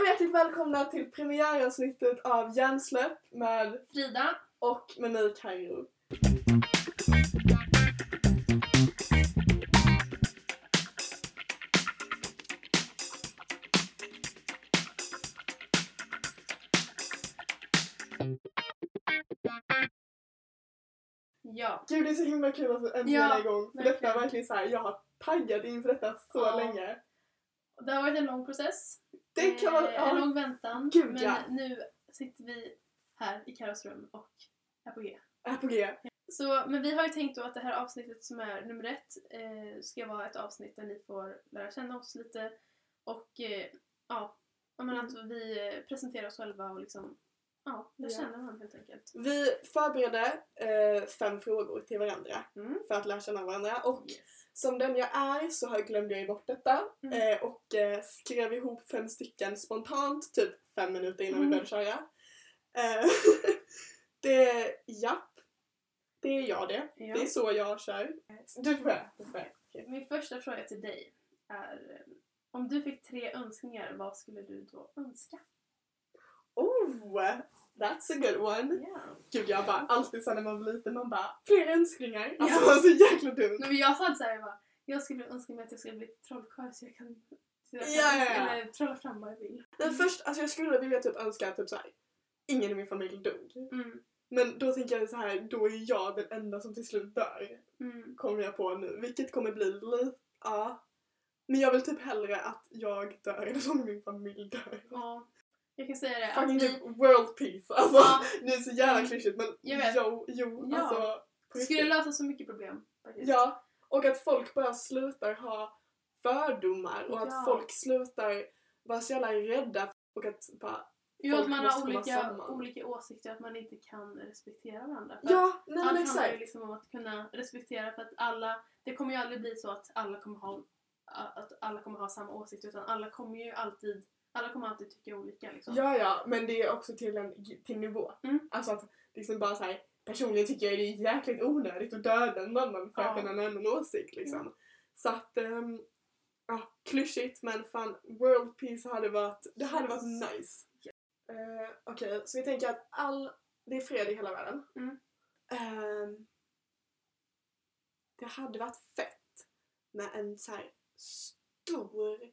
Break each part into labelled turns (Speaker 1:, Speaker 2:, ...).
Speaker 1: och hjärtligt välkomna till premiäravsnittet av Hjärnsläpp med
Speaker 2: Frida.
Speaker 1: och med mig Carro.
Speaker 2: Ja.
Speaker 1: Gud det är så himla kul att vi äntligen
Speaker 2: Ja,
Speaker 1: är igång. För detta är
Speaker 2: verkligen.
Speaker 1: verkligen så här, jag har taggat inför detta så
Speaker 2: Ja.
Speaker 1: länge.
Speaker 2: Det har varit en lång process.
Speaker 1: Det kan man,
Speaker 2: Eh, En
Speaker 1: ja,
Speaker 2: lång väntan.
Speaker 1: Gud,
Speaker 2: men
Speaker 1: ja.
Speaker 2: nu sitter vi här i Karos rum och är på G.
Speaker 1: är Äh, på G.
Speaker 2: Så, men vi har ju tänkt då att det här avsnittet som är nummer ett eh, ska vara ett avsnitt där ni får lära känna oss lite och eh, ja, jag menar att vi eh, presenterar oss själva och liksom ja, lär
Speaker 1: Mm. Ja.
Speaker 2: känna varandra helt enkelt.
Speaker 1: Vi förberedde eh, fem frågor till varandra
Speaker 2: Mm.
Speaker 1: för att lära känna varandra och
Speaker 2: Yes.
Speaker 1: som den jag är så har glömde jag ju bort detta
Speaker 2: Mm.
Speaker 1: eh, och eh, skrev ihop fem stycken spontant typ fem minuter innan vi
Speaker 2: Mm.
Speaker 1: började köra. Eh, det, japp, det är jag det.
Speaker 2: eh, Ja. Eh,
Speaker 1: Det är så jag kör. Du får börja. du får börja. Okej.
Speaker 2: Min första fråga till dig är eh, om du fick tre önskningar, vad skulle du då önska?
Speaker 1: Oh, that's a good one.
Speaker 2: Ja.
Speaker 1: Gud jag bara alltid sen när man var liten man bara fler önskningar. Alltså
Speaker 2: Mm. Ja.
Speaker 1: det var så jäkla dumt.
Speaker 2: Nej, men jag sa såhär, jag, bara, jag skulle önska mig att jag skulle bli trollkarl så jag kan, så jag kan
Speaker 1: Ja, ja, ja.
Speaker 2: Eller, trolla fram vad jag vill.
Speaker 1: Men först, alltså jag skulle vilja typ önska typ såhär, ingen i min familj dog.
Speaker 2: Mm.
Speaker 1: Men då tänker jag så här, då är jag den enda som till slut dör.
Speaker 2: Mm.
Speaker 1: Kommer jag på nu. Vilket kommer bli lite, ja. Men jag vill typ hellre att jag dör än att min familj dör.
Speaker 2: Ja. Jag kan säga det.
Speaker 1: Fucking
Speaker 2: att vi-
Speaker 1: typ world peace alltså.
Speaker 2: Ja,
Speaker 1: Det är så jävla
Speaker 2: Mm.
Speaker 1: klyschigt men
Speaker 2: Jag vet.
Speaker 1: jo, jo
Speaker 2: Ja.
Speaker 1: alltså. på
Speaker 2: skulle
Speaker 1: riktigt.
Speaker 2: lösa så mycket problem. faktiskt.
Speaker 1: Ja, och att folk bara slutar ha fördomar och
Speaker 2: Ja.
Speaker 1: att folk slutar vara så jävla rädda och att bara,
Speaker 2: Jo, att
Speaker 1: folk
Speaker 2: man
Speaker 1: måste
Speaker 2: har
Speaker 1: komma
Speaker 2: olika,
Speaker 1: samman.
Speaker 2: olika åsikter och att man inte kan respektera varandra. För att
Speaker 1: ja, nej men
Speaker 2: allt handlar ju
Speaker 1: exakt.
Speaker 2: liksom om att kunna respektera för att alla, det kommer ju aldrig bli så att alla kommer ha, att alla kommer ha samma åsikt utan alla kommer ju alltid, alla kommer alltid tycka olika liksom.
Speaker 1: Ja, ja, men det är också till en till nivå.
Speaker 2: Mm.
Speaker 1: Alltså att liksom bara så här, personligen tycker jag det är jäkligt onödigt att döda en annan för att
Speaker 2: Ja.
Speaker 1: den har en annan åsikt liksom. Så att, ehm, ja, klyschigt men fan, world peace hade varit, det hade varit
Speaker 2: Yes.
Speaker 1: nice. Eh, Okej, så vi tänker att all, det är fred i hela världen.
Speaker 2: Mm.
Speaker 1: Ehm, det hade varit fett med en så här stor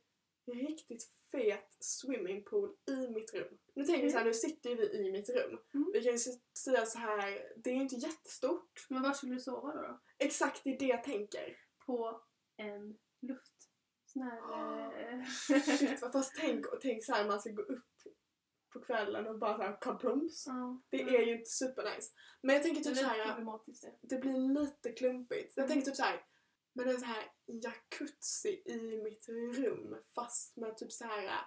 Speaker 1: riktigt fet swimmingpool i mitt rum. Nu tänker vi så här, nu sitter ju vi i mitt rum.
Speaker 2: Mm.
Speaker 1: Vi kan ju s- säga så här, det är ju inte jättestort.
Speaker 2: Men var skulle du sova då? då?
Speaker 1: Exakt det är det jag tänker.
Speaker 2: På en luft... Sån här... eh,
Speaker 1: Ah. Shit, vad- fast tänk, och tänk så här, man ska gå upp på kvällen och bara så här kaplums.
Speaker 2: ja.
Speaker 1: Det
Speaker 2: Mm.
Speaker 1: är ju inte supernice. Men jag tänker
Speaker 2: Det är
Speaker 1: typ så
Speaker 2: lite
Speaker 1: här,
Speaker 2: problematiskt det.
Speaker 1: det blir lite klumpigt. Jag
Speaker 2: Mm.
Speaker 1: tänker typ så här, men en så här jacuzzi i mitt rum fast med typ så här.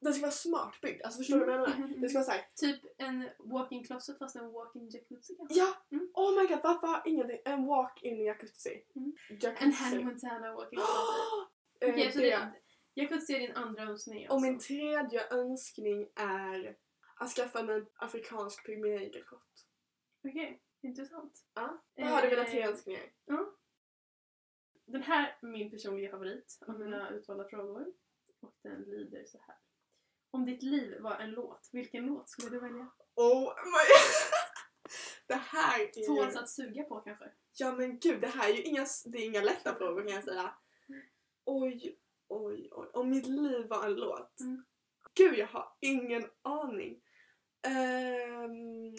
Speaker 1: Den ska vara smart byggd, alltså förstår du vad jag
Speaker 2: Mm,
Speaker 1: menar?
Speaker 2: mm,
Speaker 1: Det ska vara så här,
Speaker 2: Typ en walk-in closet fast en walk-in jacuzzi kanske?
Speaker 1: Ja!
Speaker 2: Mm.
Speaker 1: Oh my god, varför har ingenting... En walk-in jacuzzi.
Speaker 2: Mm.
Speaker 1: Jacuzzi.
Speaker 2: En Hannah Montana walk-in closet.
Speaker 1: Eh,
Speaker 2: Okej, så
Speaker 1: det.
Speaker 2: det, jacuzzi är din andra önskning
Speaker 1: Och min
Speaker 2: alltså.
Speaker 1: tredje önskning är att skaffa mig en afrikansk pygmé-igelkott.
Speaker 2: Okej, intressant.
Speaker 1: Ja. Då har du
Speaker 2: Eh,
Speaker 1: mina tre önskningar.
Speaker 2: Den här är min personliga favorit av
Speaker 1: Mm.
Speaker 2: mina utvalda frågor. Och den lyder så här. Om ditt liv var en låt, vilken låt skulle du välja?
Speaker 1: Oh my... det här är ju...
Speaker 2: Tåls att suga på kanske?
Speaker 1: Ja men gud, det här är ju inga, det är inga lätta frågor kan jag säga. Oj, oj, oj. Om mitt liv var en låt.
Speaker 2: Mm.
Speaker 1: Gud, jag har ingen aning. Ehm,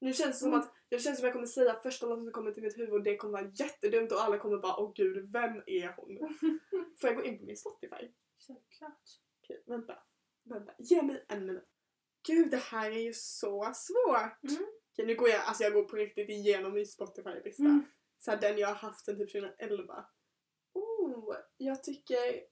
Speaker 1: nu känns det som
Speaker 2: Mm.
Speaker 1: att jag känns som jag kommer säga första låten som kommer till mitt huvud och det kommer vara jättedumt och alla kommer bara åh gud, vem är hon? Får jag gå in på min Spotify?
Speaker 2: Självklart.
Speaker 1: Okej, vänta. Vänta, ge mig en minut. Gud, det här är ju så svårt!
Speaker 2: Mm.
Speaker 1: Okej, nu går jag, alltså jag går på riktigt igenom min Spotify-lista.
Speaker 2: Mm.
Speaker 1: Så här, den jag har haft sen typ 2011. Oh, jag tycker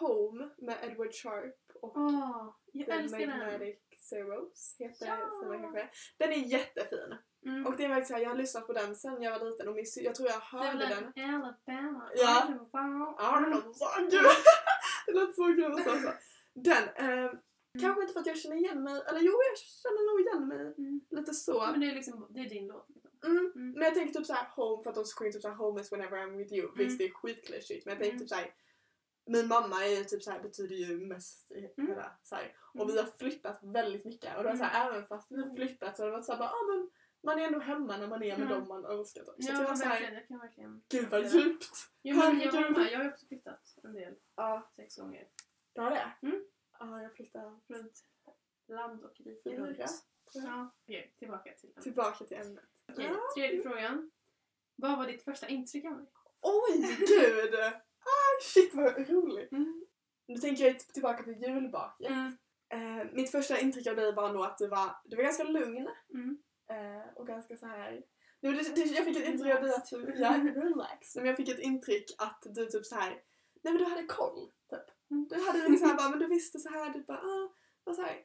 Speaker 1: Home med Edward Sharp och
Speaker 2: Åh, jag
Speaker 1: The
Speaker 2: älskar den!
Speaker 1: Magnetic Zeros heter
Speaker 2: Ja.
Speaker 1: den kanske. Den är jättefin.
Speaker 2: Mm.
Speaker 1: Och det är verkligen så här, jag har lyssnat på den sen jag var liten och min, sy- jag tror jag
Speaker 2: det var
Speaker 1: hörde den.
Speaker 2: den Alabama,
Speaker 1: Ja.
Speaker 2: Alabama.
Speaker 1: Arnold, gud! Det lät så kul att säga så. Den, eh,
Speaker 2: Mm.
Speaker 1: kanske inte för att jag känner igen mig, eller jo jag känner nog igen mig
Speaker 2: Mm.
Speaker 1: lite så.
Speaker 2: Men det är liksom, det är din låt. Liksom.
Speaker 1: Mm.
Speaker 2: Mm.
Speaker 1: Men jag tänker typ såhär home för att de sjunger typ såhär home is whenever I'm with you. Visst det är skitklyschigt men jag tänker
Speaker 2: Mm.
Speaker 1: typ såhär min mamma är ju typ så här, betyder ju mest i
Speaker 2: Mm.
Speaker 1: hela så här. Och vi har flyttat väldigt mycket. Och det var så här,
Speaker 2: Mm.
Speaker 1: även fast vi har flyttat så har det varit så här, bara, ah, men man är ändå hemma när man är med
Speaker 2: Mm.
Speaker 1: dem man älskar. Typ. Så
Speaker 2: Ja,
Speaker 1: det var
Speaker 2: men
Speaker 1: så här,
Speaker 2: verkligen. Jag kan verkligen...
Speaker 1: gud vad djupt!
Speaker 2: Jo, men jag,
Speaker 1: Herregud.
Speaker 2: har med, jag har ju också flyttat en del.
Speaker 1: Ja,
Speaker 2: Sex gånger.
Speaker 1: det var det.
Speaker 2: Mm.
Speaker 1: Ja, jag flyttade
Speaker 2: Runt land och rike
Speaker 1: Fyra.
Speaker 2: runt.
Speaker 1: Mm.
Speaker 2: Ja, okej. Tillbaka till den.
Speaker 1: tillbaka Mm. till ämnet.
Speaker 2: Okej, tredje frågan. Vad var ditt första intryck av mig?
Speaker 1: Oj, gud! Ah, shit vad roligt!
Speaker 2: Mm.
Speaker 1: Nu tänker jag typ tillbaka på julbaken.
Speaker 2: Mm.
Speaker 1: Eh, mitt första intryck av dig var nog att du var, du var ganska lugn
Speaker 2: Mm.
Speaker 1: eh, och ganska så här. Nu, det, det, jag fick ett intryck av dig att du, ja, relax. Nej, Men jag fick ett intryck att du typ så här, nej men du hade koll. Typ.
Speaker 2: Mm.
Speaker 1: Du hade liksom så här, bara, men du visste så här, du bara, ah, var så här.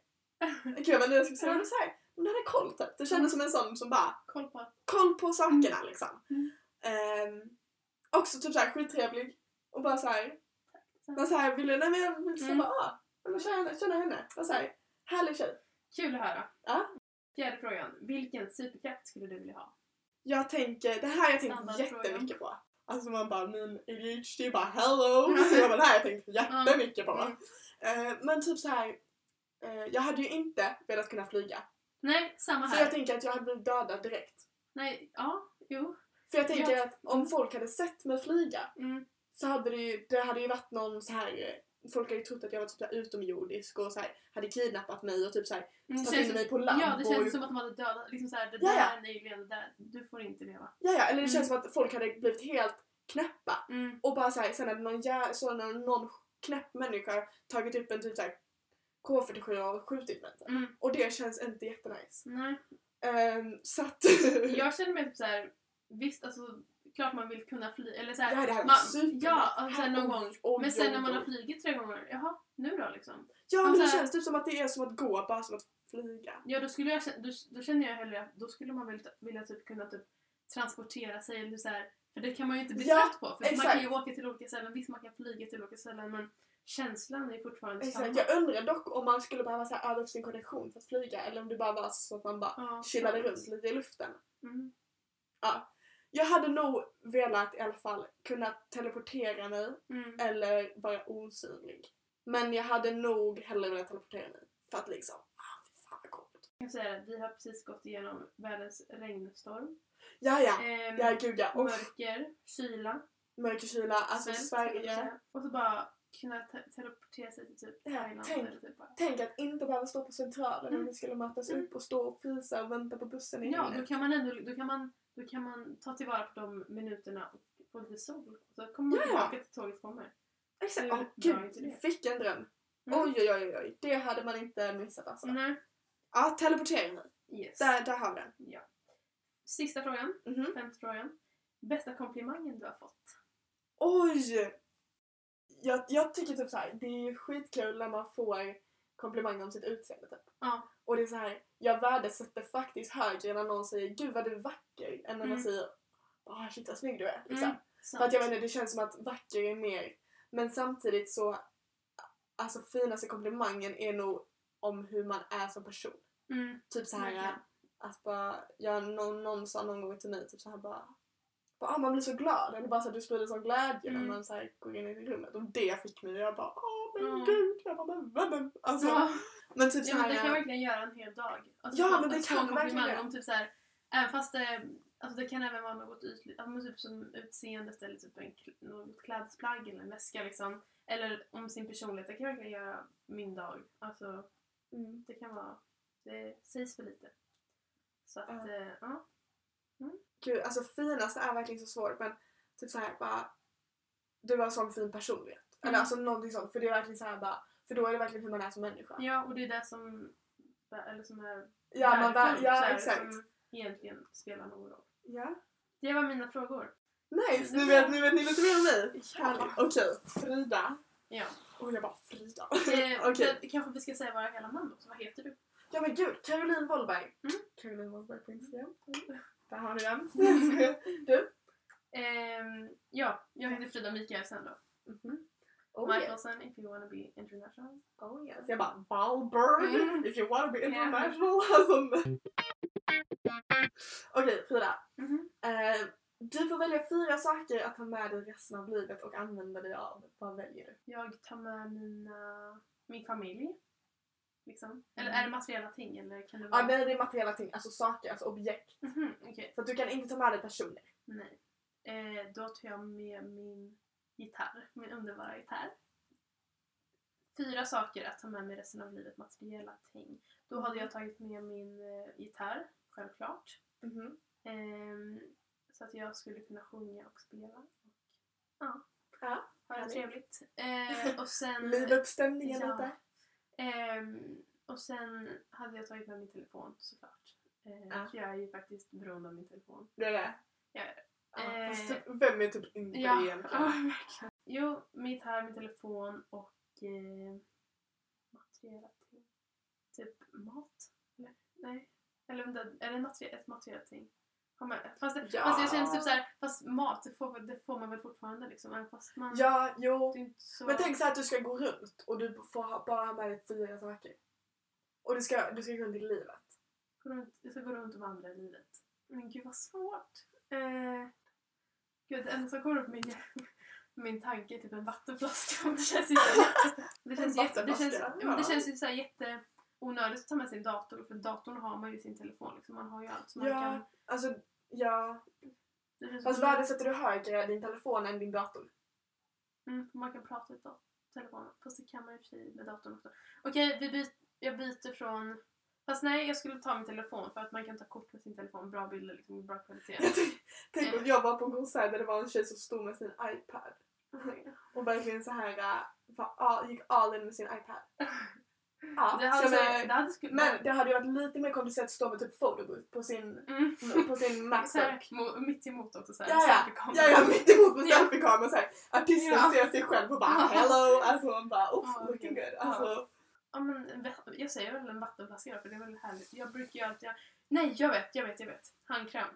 Speaker 1: Gud vad nu jag skulle säga, men så här, men du hade koll typ. Du kändes
Speaker 2: Mm.
Speaker 1: som en sån som bara,
Speaker 2: Koll på att...
Speaker 1: koll på sakerna liksom.
Speaker 2: Mm.
Speaker 1: Ehm, också typ såhär skittrevlig och bara såhär, bara såhär ville, nej men jag ville så
Speaker 2: Mm.
Speaker 1: bara, ah, jag vill känna, känna henne. Bara såhär, härlig tjej.
Speaker 2: Kul att höra.
Speaker 1: Ja.
Speaker 2: Fjärde frågan. Vilken superkraft skulle du vilja ha?
Speaker 1: Jag tänker, det här har jag tänkt
Speaker 2: Standardfrågan.
Speaker 1: jättemycket på. Alltså man bara, min ADHD är bara hello. Så jag bara, det här har jag tänkt jättemycket på.
Speaker 2: Mm.
Speaker 1: Eh, men typ såhär, eh, jag hade ju inte velat kunna flyga.
Speaker 2: Nej, samma
Speaker 1: Så jag
Speaker 2: här.
Speaker 1: tänker att jag hade blivit dödad direkt.
Speaker 2: Nej, ja, jo.
Speaker 1: För jag tänker
Speaker 2: Ja.
Speaker 1: att om folk hade sett mig flyga
Speaker 2: Mm.
Speaker 1: så hade det ju, det hade ju varit någon så här eh, Folk hade ju trott att jag var typ så här utomjordisk och så här, hade kidnappat mig och typ så här,
Speaker 2: Mm,
Speaker 1: satt
Speaker 2: känns
Speaker 1: in
Speaker 2: som-
Speaker 1: mig på land.
Speaker 2: Ja, det
Speaker 1: och,
Speaker 2: känns som att de hade dödat. Liksom såhär, det
Speaker 1: Ja, ja.
Speaker 2: där är nyligen, det där. Du får inte leva.
Speaker 1: ja, ja, eller det
Speaker 2: Mm.
Speaker 1: känns som att folk hade blivit helt knäppa.
Speaker 2: Mm.
Speaker 1: Och bara så här, sen hade någon, jä- så hade någon knäpp människa tagit upp en typ så här K47 och skjutit mig.
Speaker 2: Mm.
Speaker 1: Och det känns inte jättenice.
Speaker 2: Nej.
Speaker 1: Um, så att...
Speaker 2: Jag känner mig typ såhär, visst alltså klart man vill kunna fly eller såhär,
Speaker 1: det här det här var
Speaker 2: man,
Speaker 1: supernice.
Speaker 2: ja, alltså,
Speaker 1: Här-
Speaker 2: någon
Speaker 1: oj,
Speaker 2: gång.
Speaker 1: oj,
Speaker 2: Men sen
Speaker 1: oj,
Speaker 2: när man har
Speaker 1: oj.
Speaker 2: flugit tre gånger, jaha, nu då liksom?
Speaker 1: Ja men
Speaker 2: alltså-
Speaker 1: det känns typ som att det är som att gå, bara som att flyga.
Speaker 2: Ja, då, skulle jag, kä- då, då känner jag hellre att då skulle man vilja, vilja typ kunna typ transportera sig eller så här, för det kan man ju inte bli
Speaker 1: Ja,
Speaker 2: trött på. För man kan
Speaker 1: exakt.
Speaker 2: ju åka till olika ställen, visst man kan flyga till olika ställen men känslan är fortfarande
Speaker 1: Exakt.
Speaker 2: samma.
Speaker 1: Jag undrar dock om man skulle behöva så här, öva upp sin kondition för att flyga eller om det bara var så att man bara
Speaker 2: Ja,
Speaker 1: chillade
Speaker 2: precis.
Speaker 1: runt lite i luften.
Speaker 2: Mm.
Speaker 1: Jag hade nog velat i alla fall kunna teleportera mig
Speaker 2: Mm.
Speaker 1: eller vara osynlig. Men jag hade nog hellre velat teleportera mig för att liksom, ah fy fan vad coolt.
Speaker 2: Jag kan säga att vi har precis gått igenom världens regnstorm.
Speaker 1: Ja ja,
Speaker 2: Ehm,
Speaker 1: ja gud ja. Och
Speaker 2: mörker, kyla,
Speaker 1: mörkerkyla, alltså
Speaker 2: svält, tänkte jag
Speaker 1: Sverige.
Speaker 2: säga. Och så bara kunna te- teleportera sig till typ
Speaker 1: Ja,
Speaker 2: Thailand
Speaker 1: tänk.
Speaker 2: eller typ bara.
Speaker 1: Tänk att inte behöva stå på centralen när
Speaker 2: Mm.
Speaker 1: vi skulle mötas
Speaker 2: Mm.
Speaker 1: upp och stå och frysa och vänta på bussen in.
Speaker 2: Ja, då kan man ändå då kan man, då kan man ta tillvara på de minuterna och få lite sol. Så kommer man
Speaker 1: Ja.
Speaker 2: tillbaka till tåget kommer.
Speaker 1: Exakt,
Speaker 2: hur
Speaker 1: ja
Speaker 2: bra är Mm. inte
Speaker 1: gud
Speaker 2: det?
Speaker 1: vilken dröm.
Speaker 2: Mm.
Speaker 1: Oj oj oj oj, det hade man inte missat alltså.
Speaker 2: Nej.
Speaker 1: Ja, teleportering.
Speaker 2: Yes.
Speaker 1: Där, där har vi den.
Speaker 2: Ja. Sista frågan,
Speaker 1: Mhm.
Speaker 2: femte frågan. Bästa komplimangen du har fått?
Speaker 1: Oj! Jag, jag tycker typ såhär, det är ju skitkul när man får komplimanger om sitt utseende typ.
Speaker 2: Ja.
Speaker 1: Och det är så här, jag värdesätter faktiskt högre när någon säger gud vad du är vacker än när man
Speaker 2: Mm.
Speaker 1: säger ah shit vad snygg du är. Liksom.
Speaker 2: Mm,
Speaker 1: För att jag menar, det känns som att vacker är mer. Men samtidigt så, alltså finaste komplimangen är nog om hur man är som person.
Speaker 2: Mm.
Speaker 1: Typ så här
Speaker 2: Verkligen.
Speaker 1: att bara, jag, någon, någon sa någon gång till mig typ så här bara, bara ah, man blir så glad eller bara så här, du sprider sån glädje
Speaker 2: Mm.
Speaker 1: när man så här, går in i rummet och det fick mig jag bara åh men
Speaker 2: Mm.
Speaker 1: gud jag bara men vännen alltså
Speaker 2: Ja.
Speaker 1: men typ så
Speaker 2: Ja, men det kan
Speaker 1: här
Speaker 2: verkligen göra en hel dag. Alltså,
Speaker 1: Ja,
Speaker 2: få-
Speaker 1: men det
Speaker 2: alltså,
Speaker 1: kan
Speaker 2: få
Speaker 1: det verkligen
Speaker 2: komplimang
Speaker 1: göra.
Speaker 2: om typ så här, även fast det, alltså det kan även vara något ytligt, alltså, men typ som utseendet eller typ en, kl- något klädesplagg eller en väska liksom. Eller om sin personlighet, det kan verkligen göra min dag. Alltså
Speaker 1: mm.
Speaker 2: det kan vara, det sägs för lite. Så att,
Speaker 1: Ja.
Speaker 2: eh, ja.
Speaker 1: gud alltså finaste är verkligen så svårt men typ så här bara du har sån fin personlighet eller
Speaker 2: Mm.
Speaker 1: alltså någonting sånt för det är verkligen så här bara för då är det verkligen hur man är som människa.
Speaker 2: ja, och det är det som, eller som är
Speaker 1: Ja, man,
Speaker 2: värdefullt,
Speaker 1: vär- ja
Speaker 2: så här, mm.
Speaker 1: exakt.
Speaker 2: som egentligen spelar någon roll.
Speaker 1: Ja.
Speaker 2: Det var mina frågor.
Speaker 1: Nice, nu vet, nu vet ni lite mer om mig.
Speaker 2: Ja.
Speaker 1: Härligt. Okej, Frida.
Speaker 2: Ja.
Speaker 1: Och jag bara Frida.
Speaker 2: Eh,
Speaker 1: Okej.
Speaker 2: men Kanske vi ska säga våra hela namn också, vad heter du?
Speaker 1: Ja men gud, Caroline Wollberg.
Speaker 2: Mm.
Speaker 1: Caroline Wollberg på Instagram. Mm-hmm. Där har ni den. du?
Speaker 2: Ehm, ja, jag heter Frida Mikaelsen då.
Speaker 1: Mhm. Oh, yes.
Speaker 2: Mikaelsen if you wanna be international.
Speaker 1: oh yes. Jag bara Wollberg.
Speaker 2: Mm.
Speaker 1: If you wanna be
Speaker 2: Yeah.
Speaker 1: international. Alltså, Okej Frida.
Speaker 2: Mhm.
Speaker 1: Eh, Du får välja fyra saker att ha med dig resten av livet och använda dig av. Vad väljer du?
Speaker 2: Jag tar med mina, min familj. Liksom. Eller
Speaker 1: Mm.
Speaker 2: är det materiella ting? Eller kan det
Speaker 1: Ja,
Speaker 2: vara...
Speaker 1: nej, det är materiella ting, alltså saker, alltså objekt.
Speaker 2: Mhm, okej.
Speaker 1: För att du kan inte ta med dig personer.
Speaker 2: Nej. Eh, då tar jag med min gitarr. Min underbara gitarr. Fyra saker att ta med mig resten av livet. Materiella ting. Då
Speaker 1: Mm.
Speaker 2: hade jag tagit med min eh, gitarr, självklart.
Speaker 1: Mhm.
Speaker 2: Ehm, så att jag skulle kunna sjunga och spela. Och, ja,
Speaker 1: Ja,
Speaker 2: ha det
Speaker 1: härligt.
Speaker 2: trevligt. Ehm, och sen,
Speaker 1: Liva upp stämningen
Speaker 2: Ja.
Speaker 1: lite.
Speaker 2: ehm, och sen hade jag tagit med min telefon såklart. Ehm,
Speaker 1: Ja.
Speaker 2: för Jag är ju faktiskt beroende av min telefon.
Speaker 1: Det är det.
Speaker 2: Ja.
Speaker 1: Ja,
Speaker 2: Eh.
Speaker 1: fast vem är typ inte det
Speaker 2: Ja, ja
Speaker 1: egentligen?
Speaker 2: verkligen. Jo, min gitarr, min telefon och eh, materiella ting. Typ mat? Eller? Nej. Eller om det- är det materi- ett materiellt ting? Har man- Fast, det,
Speaker 1: Ja.
Speaker 2: fast jag känner typ såhär, fast mat det får, väl- det får man väl fortfarande liksom? Även fast man...
Speaker 1: Ja,
Speaker 2: det
Speaker 1: jo.
Speaker 2: är inte så...
Speaker 1: Men tänk så här att du ska gå runt och du får ha, bara ha med dig fyra saker. Och du ska, du ska gå runt i livet.
Speaker 2: gå runt, jag ska gå runt och vandra i livet. Men gud vad svårt. Eh, gud, det enda som kommer upp i min, min tanke är typ en vattenflaska. Det känns ju så jätte- det känns
Speaker 1: En
Speaker 2: jätte, det känns,
Speaker 1: vattenflaska,
Speaker 2: men det
Speaker 1: ja.
Speaker 2: känns ju så här jätte onödigt att ta med sin dator för datorn har man ju i sin telefon liksom. Man har ju allt som man kan.
Speaker 1: Ja, alltså ja.
Speaker 2: Det känns
Speaker 1: Fast
Speaker 2: som-
Speaker 1: värdesätter du högre din telefon än din dator?
Speaker 2: mm, man kan prata i dat- telefonen. Fast det kan man ju i och för sig med datorn också. Okej, vi byt, jag byter från Fast nej, jag skulle ta min telefon för att man kan ta kort med sin telefon. Bra bilder, liksom, bra kvalitet.
Speaker 1: Jag tänk- Tänk om jag var på en konsert där det var en tjej som stod med sin iPad. Och verkligen så här äh, var all, gick all in med sin iPad. Ja,
Speaker 2: Det
Speaker 1: så
Speaker 2: hade,
Speaker 1: jag
Speaker 2: så,
Speaker 1: menar-
Speaker 2: det hade sku-
Speaker 1: men det hade ju varit lite mer komplicerat att stå med typ photobooth på sin,
Speaker 2: Mm.
Speaker 1: på sin
Speaker 2: Så här,
Speaker 1: Macbook.
Speaker 2: mo- mitt emot också såhär.
Speaker 1: alltså- Ja, Ja, ja, mitt emot på
Speaker 2: Ja.
Speaker 1: selfie-kameran såhär. Artisten
Speaker 2: Ja.
Speaker 1: ser sig själv och bara
Speaker 2: Ja.
Speaker 1: hello. Alltså man bara oops,
Speaker 2: Ja,
Speaker 1: looking
Speaker 2: okej.
Speaker 1: good. Alltså,
Speaker 2: ja, men, en va- jag säger väl en vattenflaska då, för det är väl härligt. Jag brukar ju alltid... Nej, jag vet, jag vet, jag vet. Handkräm.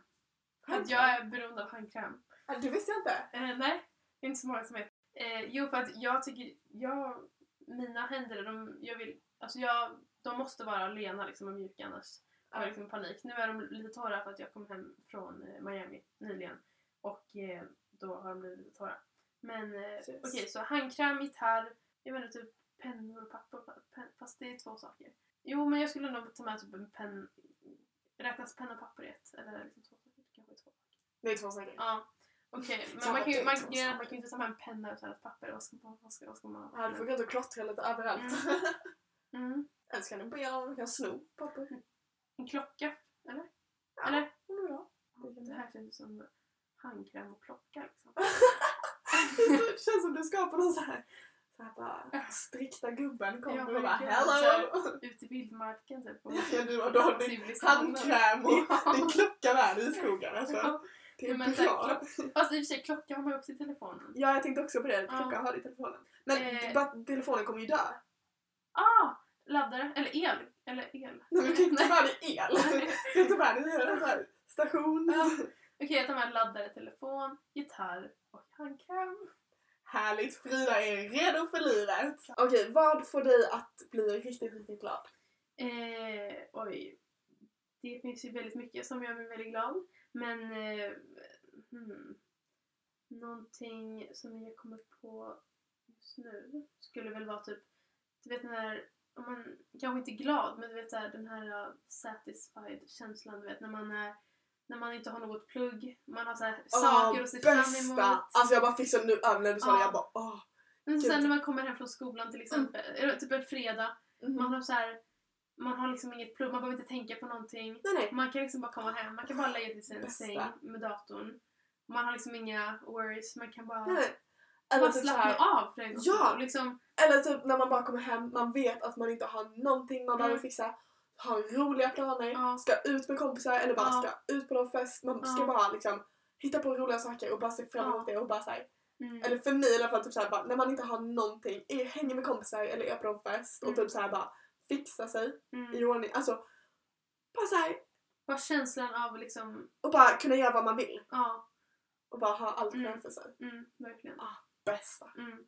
Speaker 2: Att jag är beroende av handkräm.
Speaker 1: Ja, Det visste jag inte.
Speaker 2: Eh, nej, det är inte så många som vet. Eh, jo, för att jag tycker... Jag, mina händer, de, jag vill, alltså jag, de måste vara lena liksom, och mjuka annars Jag har liksom panik. Nu är de lite torra för att jag kom hem från eh, Miami nyligen. Och eh, då har de blivit lite torra. Men eh, okej,
Speaker 1: Precis.
Speaker 2: så handkräm, gitarr, jag menar typ pennor och papper. fa- Pen, fast det är två saker. Jo, men jag skulle nog ta med typ en penn... Räknas penna och papper i ett? Eller liksom två saker? Kanske två.
Speaker 1: Det är två saker.
Speaker 2: Ja, okej. Men
Speaker 1: Samma
Speaker 2: man kan ju
Speaker 1: tänk,
Speaker 2: man,
Speaker 1: två
Speaker 2: grejen är att typ man
Speaker 1: saker.
Speaker 2: kan ju inte ta med en penna utan ett papper. Vad ska man... Vad ska, vad ska man
Speaker 1: Ja, du får gå ut och klottra lite överallt.
Speaker 2: mm.
Speaker 1: Eller så kan du be om du kan sno papper.
Speaker 2: En klocka, eller?
Speaker 1: Ja.
Speaker 2: Eller?
Speaker 1: Om du vill ha.
Speaker 2: Det här känns ju som handkräm och klocka liksom.
Speaker 1: Det känns som du ska på någon så här, så här bara strikta gubben
Speaker 2: Ja,
Speaker 1: kommer och
Speaker 2: men
Speaker 1: bara
Speaker 2: gud,
Speaker 1: hello!
Speaker 2: Ute i vildmarken typ. och-
Speaker 1: Ja, du, och då har du
Speaker 2: civilisationen.
Speaker 1: handkräm och
Speaker 2: Ja.
Speaker 1: din klocka med dig i skogen. Alltså.
Speaker 2: Ja.
Speaker 1: Det är
Speaker 2: Men
Speaker 1: bra.
Speaker 2: Fast i och för sig, klocka har man ju också i telefonen.
Speaker 1: Ja, jag tänkte också på det. Klocka
Speaker 2: Ja.
Speaker 1: har du i telefonen. Men
Speaker 2: Eh.
Speaker 1: bara, telefonen kommer ju dö.
Speaker 2: Ah! Laddare, eller el. Eller el.
Speaker 1: Nej, men du kan ju inte
Speaker 2: Nej.
Speaker 1: ta med dig el. Du
Speaker 2: Okej,
Speaker 1: kan inte ta med dig en sån här station.
Speaker 2: Ja. jag tar med laddare, telefon, gitarr och handkräm.
Speaker 1: Härligt! Frida är redo för livet. Okej, vad får dig att bli riktigt, riktigt glad?
Speaker 2: Eh, oj. Det finns ju väldigt mycket som gör mig väldigt glad. Men... Eh, hmm. Någonting som jag kommer på just nu skulle väl vara typ... Du vet den här... Om man, kanske inte glad, men du vet så här, den här uh, satisfied-känslan. Du vet när man, är, när man inte har något plugg. Man har så här, saker att se fram emot.
Speaker 1: bästa! Alltså jag bara fick så nu över när du sa det.
Speaker 2: Ja.
Speaker 1: Jag bara åh.
Speaker 2: Men
Speaker 1: Gud. Mm.
Speaker 2: sen när man kommer hem från skolan till exempel. Eller typ en fredag. Man har så här, Man har liksom inget plugg. Man behöver inte tänka på någonting.
Speaker 1: Nej, nej.
Speaker 2: Man kan liksom bara komma hem, man kan bara lägga till sin
Speaker 1: Bästa.
Speaker 2: säng med datorn. Man har liksom inga worries, man kan bara,
Speaker 1: nej, nej. Eller
Speaker 2: bara
Speaker 1: typ,
Speaker 2: slappna
Speaker 1: såhär,
Speaker 2: av för en gång
Speaker 1: Ja.
Speaker 2: skull. liksom,
Speaker 1: eller typ när man bara kommer hem, man vet att man inte har någonting man behöver
Speaker 2: Mm.
Speaker 1: fixa. Har roliga planer,
Speaker 2: Ja.
Speaker 1: ska ut med kompisar eller bara
Speaker 2: Ja.
Speaker 1: ska ut på någon fest. Man ska
Speaker 2: Ja.
Speaker 1: bara liksom hitta på roliga saker och bara se fram emot det och bara såhär.
Speaker 2: mm,
Speaker 1: Eller för mig i alla fall, typ såhär, bara, när man inte har någonting, är, hänger med kompisar eller är på någon fest och
Speaker 2: Mm.
Speaker 1: typ såhär bara fixa sig i
Speaker 2: mm.
Speaker 1: ordning. Alltså bara såhär
Speaker 2: Bara känslan av liksom,
Speaker 1: och bara kunna göra vad man vill
Speaker 2: ja,
Speaker 1: och bara ha allt
Speaker 2: Mm.
Speaker 1: framför sig.
Speaker 2: mm, verkligen.
Speaker 1: Bästa!
Speaker 2: Mm.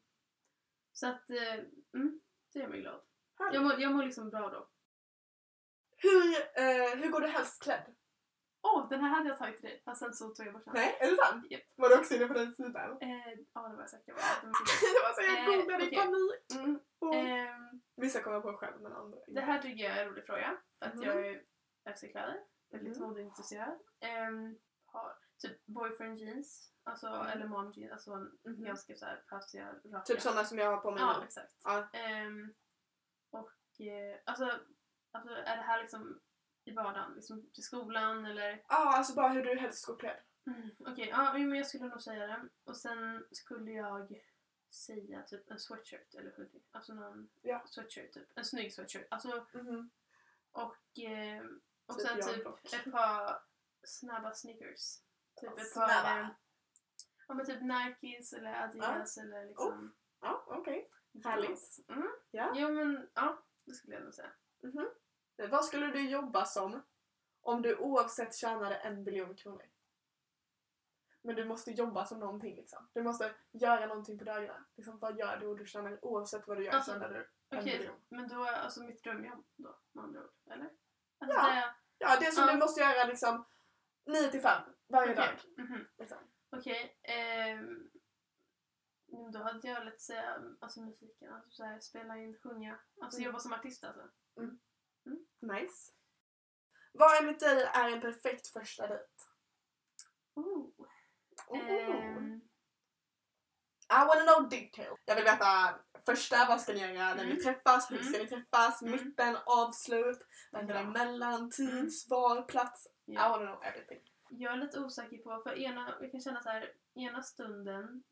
Speaker 2: Så att, eh, mm, det gör mig glad.
Speaker 1: Härligt.
Speaker 2: Jag mår, jag mår liksom bra då.
Speaker 1: Hur, eh, hur går du helst klädd?
Speaker 2: Åh, den här hade jag tagit till dig. Fast sen så tog jag bort den.
Speaker 1: Nej, är det sant?
Speaker 2: Japp.
Speaker 1: Var du också inne på den sidan?
Speaker 2: Eh, ja, det var jag säkert. Jag var-
Speaker 1: det var så jag
Speaker 2: Eh,
Speaker 1: googlade i
Speaker 2: okej.
Speaker 1: panik.
Speaker 2: Mm.
Speaker 1: Och
Speaker 2: Ehm,
Speaker 1: Vissa kommer på själv men andra
Speaker 2: det här tycker jag är en rolig fråga. För att
Speaker 1: Mhm.
Speaker 2: jag är älskar kläder. Väldigt
Speaker 1: Mhm.
Speaker 2: modeintresserad. Ehm, har typ boyfriend jeans. Alltså, eller mom jeans. Alltså en
Speaker 1: Mhm.
Speaker 2: ganska såhär pausiga, raka.
Speaker 1: Mm. Typ sådana som jag har på mig
Speaker 2: Ja,
Speaker 1: nu.
Speaker 2: exakt.
Speaker 1: Ja.
Speaker 2: Ehm, och eh, alltså, alltså, är det här liksom i vardagen? Liksom till skolan eller?
Speaker 1: Ja, alltså bara hur du helst går klädd.
Speaker 2: Mm, Okej, ja, jo, men jag skulle nog säga det. Och sen skulle jag säga typ en sweatshirt eller hoodie. Alltså någon
Speaker 1: Ja.
Speaker 2: sweatshirt typ. En snygg sweatshirt. Alltså, och, eh, och
Speaker 1: Typ
Speaker 2: sen
Speaker 1: jag
Speaker 2: typ
Speaker 1: dock.
Speaker 2: ett par snabba sneakers. Typ ett par eh,
Speaker 1: Snälla.
Speaker 2: ja, men typ Nikes eller Adidas eller liksom
Speaker 1: Ja, okej.
Speaker 2: Härligt. Mm.
Speaker 1: Ja.
Speaker 2: Jo men ja, det skulle jag nog säga.
Speaker 1: Mhm. Men Vad skulle du jobba som om du oavsett tjänade en biljon kronor? Men du måste jobba som någonting liksom. Du måste göra någonting på dagarna. Liksom, vad gör du och du tjänar oavsett vad du gör
Speaker 2: Alltså,
Speaker 1: tjänar du en
Speaker 2: Okej,
Speaker 1: miljon.
Speaker 2: men då är alltså mitt drömjobb då med andra ord, eller? Alltså,
Speaker 1: Ja,
Speaker 2: det-
Speaker 1: Ja, det som
Speaker 2: Ja.
Speaker 1: du måste göra liksom 9 till 5 varje
Speaker 2: Okej,
Speaker 1: dag.
Speaker 2: mhm.
Speaker 1: Liksom.
Speaker 2: Okej, ehm, men då hade jag lätt säga alltså musiken, alltså så här, spela in, sjunga, alltså
Speaker 1: Mm.
Speaker 2: jobba som artist alltså.
Speaker 1: Nice. Vad enligt dig är en perfekt första dejt?
Speaker 2: Oh.
Speaker 1: Oh.
Speaker 2: Ehm,
Speaker 1: I wanna know detail. Jag vill veta första, vad ska ni göra när
Speaker 2: Mm.
Speaker 1: ni träffas, hur
Speaker 2: Mm.
Speaker 1: ska ni träffas,
Speaker 2: Mm.
Speaker 1: mitten, avslut, vem
Speaker 2: Ja.
Speaker 1: däremellan,
Speaker 2: Mm.
Speaker 1: tids, var, plats. I
Speaker 2: ja.
Speaker 1: wanna know everything.
Speaker 2: Jag är lite osäker på, för ena, jag kan känna så här, ena stunden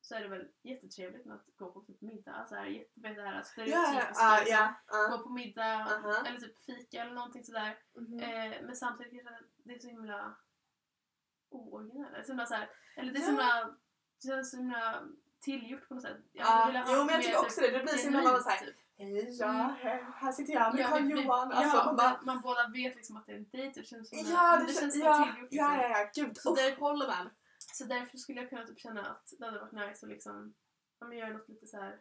Speaker 2: så är det väl jättetrevligt med att gå på typ middag, alltså här, jätte, det här
Speaker 1: Ja,
Speaker 2: stereotypiska,
Speaker 1: ja,
Speaker 2: liksom,
Speaker 1: ja, ja.
Speaker 2: gå på middag
Speaker 1: Aha.
Speaker 2: eller typ fika eller någonting sådär.
Speaker 1: Mhm.
Speaker 2: Eh, men samtidigt kanske att det är så himla ooriginellt. Eller, så himla så här- eller det är så
Speaker 1: Ja.
Speaker 2: himla, det känns så himla tillgjort på något sätt. Jag hade
Speaker 1: Ja.
Speaker 2: velat ha
Speaker 1: Jo men jag
Speaker 2: mer typ
Speaker 1: tycker också det, det blir så himla
Speaker 2: genuint,
Speaker 1: bara såhär
Speaker 2: typ.
Speaker 1: Hej ja, här- här sitter jag med
Speaker 2: Ja, vi- vi-
Speaker 1: Carl-Johan. Alltså
Speaker 2: ja,
Speaker 1: man bara
Speaker 2: man, man båda vet liksom att det är en dejt. Det känns, som en-
Speaker 1: Ja,
Speaker 2: men
Speaker 1: det, känns,
Speaker 2: bara
Speaker 1: ja,
Speaker 2: tillgjort. Liksom.
Speaker 1: ja, ja, ja, gud.
Speaker 2: Så
Speaker 1: Så
Speaker 2: där-
Speaker 1: håller man.
Speaker 2: Så därför skulle jag kunna typ känna att det hade varit nice att liksom, ja, men göra något lite så här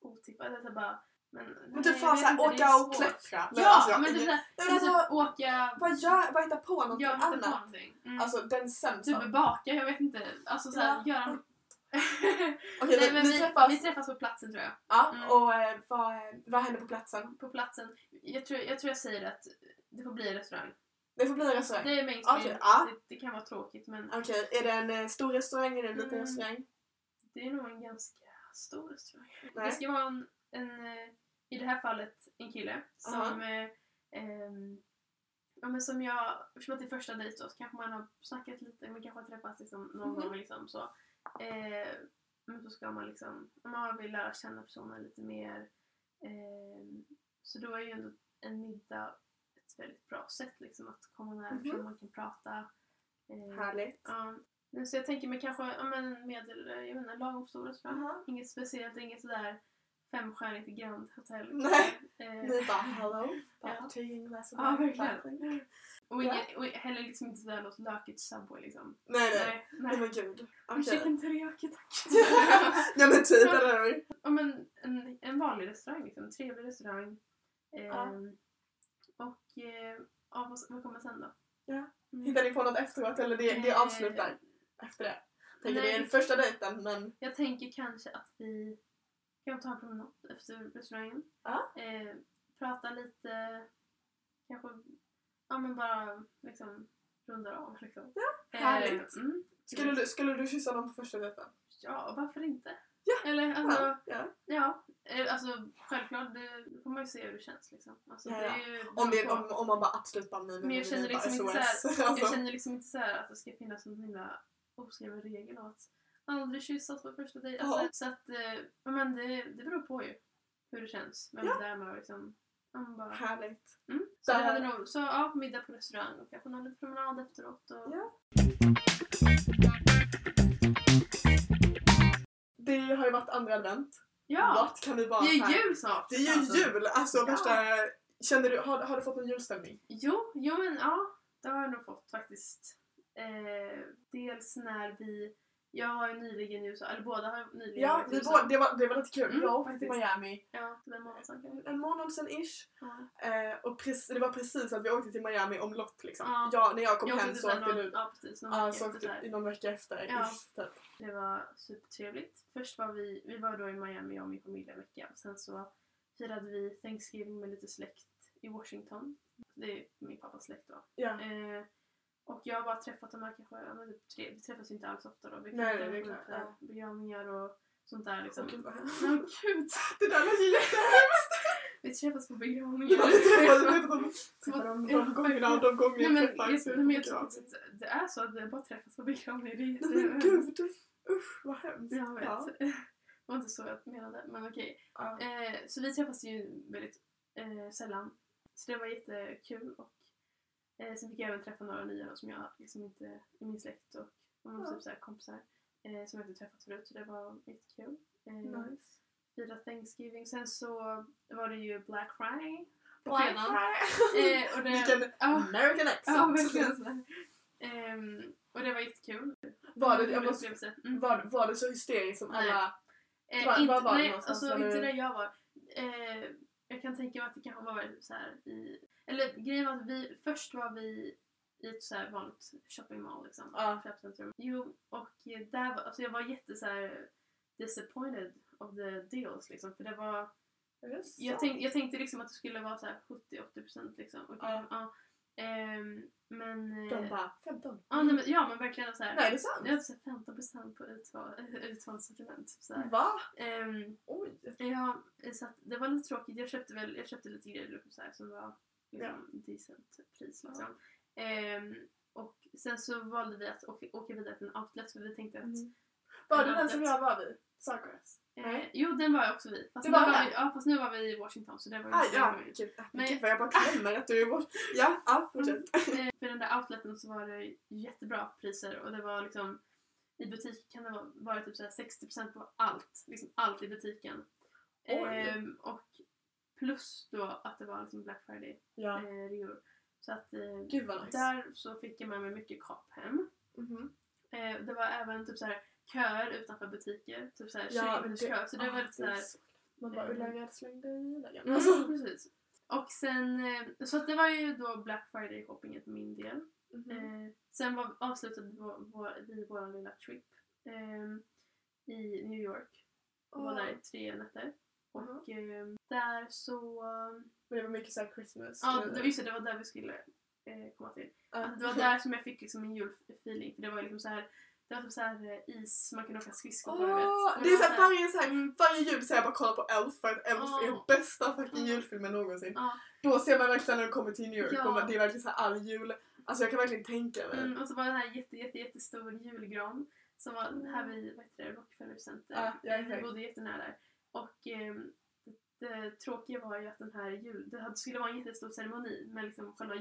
Speaker 2: otippat. Eller så här bara, men,
Speaker 1: Men
Speaker 2: nej,
Speaker 1: typ
Speaker 2: jag
Speaker 1: fan
Speaker 2: vet
Speaker 1: såhär,
Speaker 2: inte, det är
Speaker 1: åka och
Speaker 2: svårt.
Speaker 1: klättra.
Speaker 2: Ja,
Speaker 1: alltså,
Speaker 2: men
Speaker 1: jag-
Speaker 2: det där,
Speaker 1: Nej,
Speaker 2: eller
Speaker 1: men alltså,
Speaker 2: typ åka,
Speaker 1: vad gör, vad hitta på någonting
Speaker 2: göra lite
Speaker 1: annat?
Speaker 2: någonting. Mm.
Speaker 1: Alltså den sämsta.
Speaker 2: Typ baka, jag vet inte. Alltså såhär, göra...
Speaker 1: Okej,
Speaker 2: Nej, men
Speaker 1: vi,
Speaker 2: vi,
Speaker 1: vi träffas.
Speaker 2: vi träffas på platsen tror jag.
Speaker 1: ja,
Speaker 2: Mm.
Speaker 1: och eh, vad, vad händer på platsen?
Speaker 2: På platsen. Jag tror jag, tror jag säger att det får bli en restaurang.
Speaker 1: Det får bli en restaurang.
Speaker 2: Det är mainstream.
Speaker 1: Okej, ja.
Speaker 2: det, det kan vara tråkigt men
Speaker 1: Okej, är det en eh, stor restaurang eller en liten
Speaker 2: Mm.
Speaker 1: restaurang?
Speaker 2: det är nog en ganska stor restaurang. Det
Speaker 1: Nej.
Speaker 2: ska vara en, en, eh, i det här fallet, en kille som eh, ehm, Ja, men som jag, eftersom att det är första dejt då, så kanske man har snackat lite, man kanske har träffats liksom någon
Speaker 1: Mhm.
Speaker 2: gång liksom så. Eh, men så ska man liksom, om man vill lära känna personen lite mer. Eh, så då är ju ändå en middag ett väldigt bra sätt liksom att komma nära
Speaker 1: Mhm.
Speaker 2: personen, man kan prata. Eh,
Speaker 1: Härligt.
Speaker 2: ja. Men Så jag tänker mig kanske, ja men medel, jag menar lagom stor restaurang.
Speaker 1: Aha.
Speaker 2: Inget speciellt, inget sådär femstjärnigt Grand Hotel.
Speaker 1: Nej.
Speaker 2: Eh,
Speaker 1: Ni bara hello, bara
Speaker 2: Ja.
Speaker 1: ta in glass of
Speaker 2: Ja,
Speaker 1: wine,
Speaker 2: verkligen.
Speaker 1: bara-
Speaker 2: Och, ingen, och heller liksom inte sådär något lökigt Subway liksom.
Speaker 1: Nej nej,
Speaker 2: Nej,
Speaker 1: nej
Speaker 2: nej.
Speaker 1: men gud.
Speaker 2: Men
Speaker 1: Okej.
Speaker 2: Chicken teriyaki tack.
Speaker 1: Nej men typ, eller hur?
Speaker 2: ja men en, en vanlig restaurang liksom, en trevlig restaurang. Eh,
Speaker 1: Ja.
Speaker 2: Och eh, ja, vad, vad kommer sen då?
Speaker 1: Ja.
Speaker 2: Mm.
Speaker 1: Hittar ni på något efteråt eller det, det
Speaker 2: Eh,
Speaker 1: avslutar efter det? Tänker
Speaker 2: nej.
Speaker 1: det
Speaker 2: Mm.
Speaker 1: är den första dejten men
Speaker 2: Jag tänker kanske att vi kan ta en promenad efter restaurangen.
Speaker 1: Ja.
Speaker 2: Eh, prata lite, kanske, ja men bara liksom rundar av liksom. Ja,
Speaker 1: härligt.
Speaker 2: Eh, mm.
Speaker 1: Skulle du, skulle du kyssa någon på första dejten?
Speaker 2: Ja, varför inte? Ja. Eller alltså,
Speaker 1: Ja. ja.
Speaker 2: ja. Eh, Alltså självklart, det får man ju se hur det känns liksom. Alltså,
Speaker 1: Ja,
Speaker 2: det
Speaker 1: ja.
Speaker 2: är ju,
Speaker 1: Om, det, om, om man bara absolut bara nej, nej,
Speaker 2: Men jag
Speaker 1: nej,
Speaker 2: känner
Speaker 1: nej,
Speaker 2: liksom
Speaker 1: bara
Speaker 2: inte
Speaker 1: SOS.
Speaker 2: Jag
Speaker 1: Alltså,
Speaker 2: känner liksom inte så här att det ska finnas någon himla oskriven regel om att aldrig kyssas på första dejt. Alltså,
Speaker 1: Ja.
Speaker 2: Så att, eh, ja, men det, det beror på ju hur det känns. Vem
Speaker 1: Ja.
Speaker 2: det är med och liksom. ja, men bara.
Speaker 1: Härligt.
Speaker 2: Mm. Så, det
Speaker 1: Där-
Speaker 2: hade nog, så ja, middag på restaurang och kanske någon liten promenad efteråt. Och,
Speaker 1: Ja. Det har ju varit andra advent.
Speaker 2: ja.
Speaker 1: Vad kan det vara?
Speaker 2: Det är
Speaker 1: så här?
Speaker 2: ju jul snart!
Speaker 1: Det är ju
Speaker 2: alltså.
Speaker 1: jul! Alltså
Speaker 2: Ja.
Speaker 1: värsta... Känner du, har, har du fått någon julstämning?
Speaker 2: Jo, jo men ja, det har jag nog fått faktiskt. Eh, dels när vi Jag var ju nyligen i USA, eller båda har nyligen
Speaker 1: Ja,
Speaker 2: varit i
Speaker 1: vi
Speaker 2: USA.
Speaker 1: båda, det, var, det var lite kul.
Speaker 2: Mm,
Speaker 1: jag åkte till
Speaker 2: faktiskt.
Speaker 1: Miami
Speaker 2: Ja, för en månad sedan kanske.
Speaker 1: en månad sedan ish.
Speaker 2: Ja.
Speaker 1: Eh, och precis, det var precis att vi åkte till Miami omlott liksom.
Speaker 2: Ja.
Speaker 1: Ja, när jag kom
Speaker 2: Jag
Speaker 1: hem
Speaker 2: åkte
Speaker 1: så
Speaker 2: typ
Speaker 1: åkte
Speaker 2: någon,
Speaker 1: du.
Speaker 2: ja, precis, någon
Speaker 1: Ja,
Speaker 2: vecka
Speaker 1: så
Speaker 2: efter
Speaker 1: åkte
Speaker 2: så här.
Speaker 1: i någon vecka efter.
Speaker 2: Ja.
Speaker 1: Ish, typ.
Speaker 2: Det var supertrevligt. Först var vi, vi var då i Miami, jag och min familj en vecka. Sen så firade vi Thanksgiving med lite släkt i Washington. Det är min pappas släkt då.
Speaker 1: Ja.
Speaker 2: Eh, och jag har bara träffat de här kanske, ja, men typ tre, vi träffas ju inte alls ofta då. Vi
Speaker 1: Nej,
Speaker 2: träffas
Speaker 1: det är
Speaker 2: på
Speaker 1: klart,
Speaker 2: så här
Speaker 1: ja.
Speaker 2: begravningar och sånt där liksom.
Speaker 1: Åh, gud, vad hemskt.
Speaker 2: Men gud!
Speaker 1: Det där lät ju jättehemskt!
Speaker 2: Vi träffas på begravningar.
Speaker 1: Ja, vi träffade- vi träffade dem- träffade dem
Speaker 2: Ja,
Speaker 1: typ de gångerna och de gånger
Speaker 2: Nej
Speaker 1: jag
Speaker 2: men,
Speaker 1: träffade
Speaker 2: jag,
Speaker 1: Axel
Speaker 2: nej, men
Speaker 1: på
Speaker 2: jag tror
Speaker 1: begravning.
Speaker 2: faktiskt att det är så att vi bara träffas på begravningar. Det är
Speaker 1: Nej men
Speaker 2: jättehemskt.
Speaker 1: gud! Usch vad hemskt!
Speaker 2: Jag vet.
Speaker 1: Ja.
Speaker 2: Det var inte så jag menade, men okej.
Speaker 1: Ja.
Speaker 2: Eh, så vi träffas ju väldigt eh, sällan. Så det var jättekul. Och, eh, sen fick jag även träffa några nya då, som jag liksom inte, i min släkt och, och
Speaker 1: Ja.
Speaker 2: typ så här kompisar eh, som jag inte träffat förut. Så det var jättekul. Eh,
Speaker 1: Nice.
Speaker 2: Fira Thanksgiving. Sen så var det ju Black Friday på
Speaker 1: Black
Speaker 2: fredagen.
Speaker 1: Friday.
Speaker 2: Eh, och det,
Speaker 1: Vilken
Speaker 2: Ja.
Speaker 1: American
Speaker 2: Ja,
Speaker 1: accent!
Speaker 2: verkligen sådär. Ehm, och det var jättekul.
Speaker 1: var, det,
Speaker 2: Kul
Speaker 1: jag måste,
Speaker 2: upplevelse. Mm.
Speaker 1: var, var det så hysteriskt som
Speaker 2: Nej.
Speaker 1: alla...
Speaker 2: Eh,
Speaker 1: Var-
Speaker 2: inte,
Speaker 1: var var det
Speaker 2: nej,
Speaker 1: någonstans?
Speaker 2: alltså
Speaker 1: Var
Speaker 2: inte
Speaker 1: det-
Speaker 2: där jag var. Eh, jag kan tänka mig att det kanske var så här i... Eller grejen var att vi, först var vi i ett så här vanligt shopping mall liksom.
Speaker 1: Ja.
Speaker 2: Köpcentrum. Jo, och eh, där var, alltså jag var jätte så här disappointed of the deals liksom. För det var, jag, tänk, jag tänkte liksom att det skulle vara så här 70-80% liksom. Och,
Speaker 1: Ja.
Speaker 2: ja. Ehm, men... eh,
Speaker 1: De bara 15.
Speaker 2: ja, nej, men, ja men verkligen så här.
Speaker 1: Nej, det är sant.
Speaker 2: Jag hade så här 15% på utval, utvalssortiment. Typ så här.
Speaker 1: Va?
Speaker 2: Ehm,
Speaker 1: Oj.
Speaker 2: Ja, så att det var lite tråkigt. Jag köpte, väl, jag köpte lite grejer så här, som var liksom, decent pris. Liksom. Ehm, och sen så valde vi att åka, åka vidare till en outlet för vi tänkte att...
Speaker 1: Mm. Var det den som jag var vid? Sawgrass?
Speaker 2: Eh, jo, den var jag också vi. Fast,
Speaker 1: Du
Speaker 2: nu
Speaker 1: var
Speaker 2: var
Speaker 1: där?
Speaker 2: vi ja, fast nu var vi i Washington så det var ju...
Speaker 1: Ah,
Speaker 2: det
Speaker 1: ja,
Speaker 2: var ju-
Speaker 1: gud.
Speaker 2: Mm. Men-
Speaker 1: Gud vad jag bara klämmer att du är bort. Ja, ja, fortsätt.
Speaker 2: Eh, För den där outleten så var det jättebra priser och det var liksom i butik kan det vara- vara typ så här 60% på allt. Liksom allt i butiken.
Speaker 1: Oj.
Speaker 2: Ehm, och plus då att det var liksom Black Friday
Speaker 1: Ja.
Speaker 2: eh, reor. Så att eh,
Speaker 1: Gud vad nice.
Speaker 2: där så fick jag med mig mycket kap hem.
Speaker 1: Mhm.
Speaker 2: Eh, det var även typ så här köer utanför butiker. Typ så här 20
Speaker 1: Ja,
Speaker 2: minuters kö. Så det
Speaker 1: ah,
Speaker 2: var lite så här
Speaker 1: Man bara
Speaker 2: eh,
Speaker 1: Ullared slängde i lägen.
Speaker 2: Mm,
Speaker 1: Alltså.
Speaker 2: precis. Och sen, eh, så att det var ju då Black Friday shoppingen för min del.
Speaker 1: Mhm.
Speaker 2: Eh, sen var, avslutade vi vår, vår, vi vår lilla trip ehm, i New York. Vi var där i tre nätter. Och ehm, där så...
Speaker 1: Men det var mycket såhär Christmas. Ah.
Speaker 2: Ja, det- just det, det var där vi skulle eh, komma till.
Speaker 1: Ja.
Speaker 2: Alltså, det var där som jag fick liksom en julfeeling. För det var liksom så här, det var typ så här eh, is, man kunde åka skridskor på. du vet.
Speaker 1: Åh,
Speaker 2: Och
Speaker 1: det är
Speaker 2: var
Speaker 1: såhär
Speaker 2: så här-
Speaker 1: varje, så här,
Speaker 2: Mm.
Speaker 1: varje jul så jag bara kollar på Elf för att Elf är den
Speaker 2: Ja.
Speaker 1: bästa fucking
Speaker 2: Ja.
Speaker 1: julfilmen någonsin.
Speaker 2: Ja.
Speaker 1: Då ser man verkligen när du kommer till New York,
Speaker 2: Ja.
Speaker 1: och man, det är verkligen såhär all jul. Alltså jag kan verkligen tänka mig.
Speaker 2: Mm, och så var det en här jätte, jätte, jättestor julgran som var här vid vad heter det, Rockefeller Center.
Speaker 1: Ja, ja,
Speaker 2: vi
Speaker 1: exakt.
Speaker 2: bodde jättenära där. Och ehm, det, det tråkiga var ju att den här jul, det hade- skulle vara en jättestor ceremoni med liksom själva